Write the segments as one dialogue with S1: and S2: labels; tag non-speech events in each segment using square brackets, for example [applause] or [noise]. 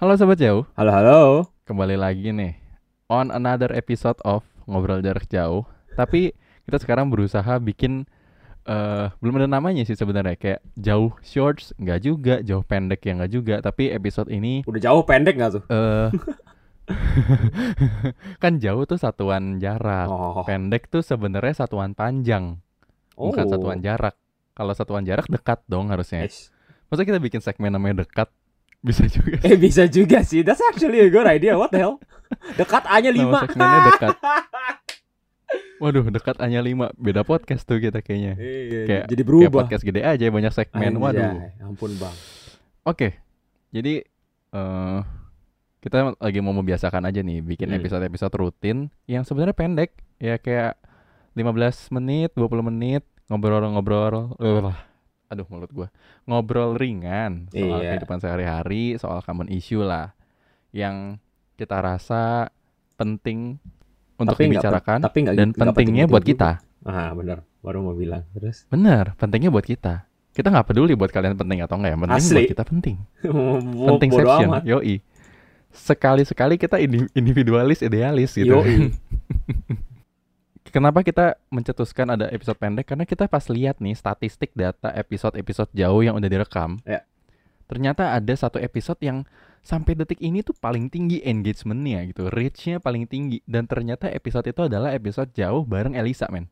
S1: Halo sobat jauh,
S2: Halo halo.
S1: kembali lagi nih on another episode of ngobrol jarak jauh. Tapi kita sekarang berusaha bikin eh belum ada namanya sih sebenarnya kayak jauh shorts nggak juga, jauh pendek ya nggak juga. Tapi episode ini
S2: Udah jauh pendek nggak tuh?
S1: eh [laughs] kan jauh tuh satuan jarak,
S2: Oh.
S1: Ah, pendek tuh sebenarnya satuan panjang, bukan
S2: Oh.
S1: ya. satuan jarak. Kalau satuan jarak dekat dong harusnya.
S2: Eish.
S1: Masa kita bikin segmen namanya dekat bisa juga
S2: [laughs] Eh bisa juga sih. That's actually a good idea. What the hell? Dekat A-nya
S1: Nama
S2: 5.
S1: segmennya
S2: [laughs]
S1: dekat. Waduh, dekat hanya 5. Beda podcast tuh kita kayaknya. Kayak-
S2: Iya, jadi
S1: Kayak
S2: berubah.
S1: podcast gede aja banyak segmen.
S2: Anjay,
S1: Waduh.
S2: Ampun, Bang.
S1: Oke. Jadi eh kita lagi mau membiasakan aja nih bikin
S2: Hmm.
S1: episode-episode rutin yang sebenarnya pendek. Ya kayak 15 menit, 20 menit ngobrol-ngobrol. Eh, Aduh, mulut gua. Ngobrol ringan soal
S2: Iya.
S1: kehidupan sehari-hari, soal common issue lah yang kita rasa penting untuk
S2: Tapi nggak pen-
S1: dibicarakan
S2: Tapi nggak
S1: dan
S2: nggak
S1: pentingnya
S2: penting-penting
S1: buat
S2: juga.
S1: kita.
S2: Ah, benar. Baru mau bilang. Terus [laughs]
S1: Bener, pentingnya buat kita. Kita nggak peduli buat kalian penting atau nggak, yang penting
S2: Asli.
S1: buat kita penting.
S2: Bo-
S1: Penting
S2: bodo
S1: section,
S2: amat.
S1: yoi. Sekali-sekali kita indi- individualis, idealis gitu.
S2: Yoi.
S1: Kenapa kita mencetuskan ada episode pendek? Karena kita pas lihat nih statistik data episode-episode jauh yang udah direkam.
S2: Ya.
S1: Ternyata ada satu episode yang sampai detik ini tuh paling tinggi engagementnya gitu. Reach-nya paling tinggi. Dan ternyata episode itu adalah episode jauh bareng Elisa, men.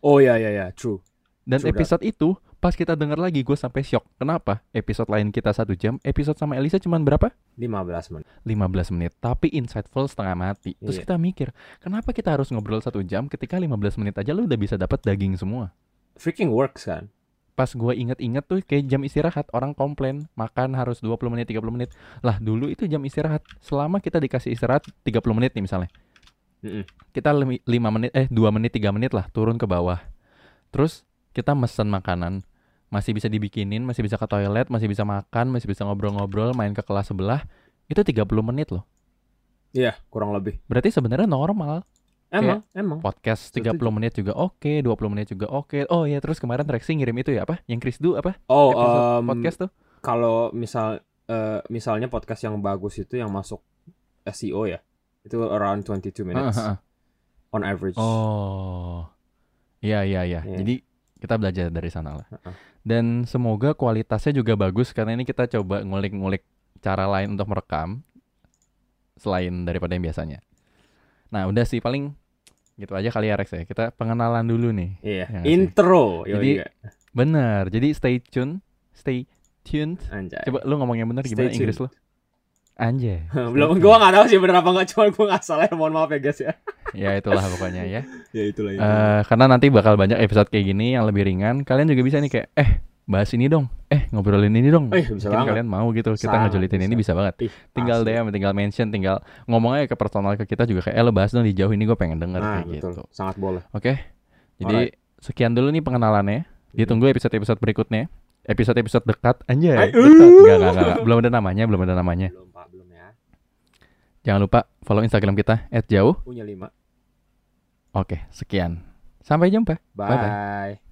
S2: Oh ya ya ya, true.
S1: Dan
S2: Sudah.
S1: episode itu pas kita denger lagi gue sampai shock. Kenapa? Episode lain kita satu jam, episode sama Elisa cuman berapa?
S2: 15 menit.
S1: 15 menit. Tapi insightful setengah mati. Terus
S2: Iya.
S1: kita mikir, kenapa kita harus ngobrol satu jam ketika 15 menit aja lu udah bisa dapat daging semua.
S2: Freaking works kan?
S1: Pas gue inget-inget tuh kayak jam istirahat orang komplain makan harus 20 menit 30 menit. Lah dulu itu jam istirahat. Selama kita dikasih istirahat 30 menit nih misalnya.
S2: Mm-mm.
S1: Kita 5 menit eh 2 menit 3 menit lah turun ke bawah. Terus kita mesen makanan masih bisa dibikinin, masih bisa ke toilet, masih bisa makan, masih bisa ngobrol-ngobrol, main ke kelas sebelah. Itu 30 menit loh.
S2: Iya, kurang lebih.
S1: Berarti sebenarnya normal. Iya.
S2: Emang, emang.
S1: Podcast 30
S2: Setuju.
S1: menit juga oke, 20 menit juga oke. Oh iya, terus kemarin Rexy ngirim itu ya apa? Yang Krisdu apa?
S2: Oh,
S1: Episode
S2: em,
S1: podcast tuh.
S2: kalau misal eh, misalnya podcast yang bagus itu yang masuk SEO ya itu around 22 minutes
S1: Ah, ah, ah.
S2: on average
S1: Oh. Iya, iya, iya.
S2: Iya.
S1: Jadi kita belajar dari sana lah.
S2: Heeh.
S1: Dan semoga kualitasnya juga bagus karena ini kita coba ngulik-ngulik cara lain untuk merekam selain daripada yang biasanya. Nah, udah sih paling gitu aja kali ya Rex ya. Kita pengenalan dulu nih. Ya
S2: iya
S1: nggak sih?
S2: intro yo
S1: Jadi,
S2: iya.
S1: Bener. Jadi stay tune, stay tuned.
S2: anjay
S1: Coba lu ngomong yang bener
S2: Stay
S1: gimana Inggris lu? Anjay.
S2: [laughs] belum
S1: Stay
S2: gua nggak tahu sih bener apa nggak cuma gua nggak salah ya mohon maaf ya guys ya
S1: tuned. Ya itulah pokoknya ya.
S2: ya itulah ya
S1: Eh, karena nanti bakal banyak episode kayak gini yang lebih ringan. Kalian juga bisa nih kayak eh bahas ini dong. Eh ngobrolin ini dong.
S2: eh
S1: Mungkin
S2: bisa banget
S1: kalian mau gitu. Kita
S2: Sangat
S1: ngejulitin ini bisa banget.
S2: Ih,
S1: Tinggal
S2: asli.
S1: DM, tinggal mention, tinggal ngomong aja ke personal ke kita juga kayak eh lo bahas dong di jauh ini gue pengen denger
S2: nah
S1: kayak
S2: betul
S1: gitu.
S2: sangat boleh
S1: Oke. Jadi sekian dulu nih pengenalannya. Ditunggu episode-episode berikutnya. Episode-episode dekat anjay.
S2: Ay,
S1: Dekat. Enggak, enggak, enggak. Belum ada namanya, belum ada namanya.
S2: belum pak belum ya
S1: Jangan lupa follow Instagram kita @jauh.
S2: punya lima
S1: Oke, sekian. Sampai jumpa.
S2: bye,
S1: Bye-bye.
S2: bye.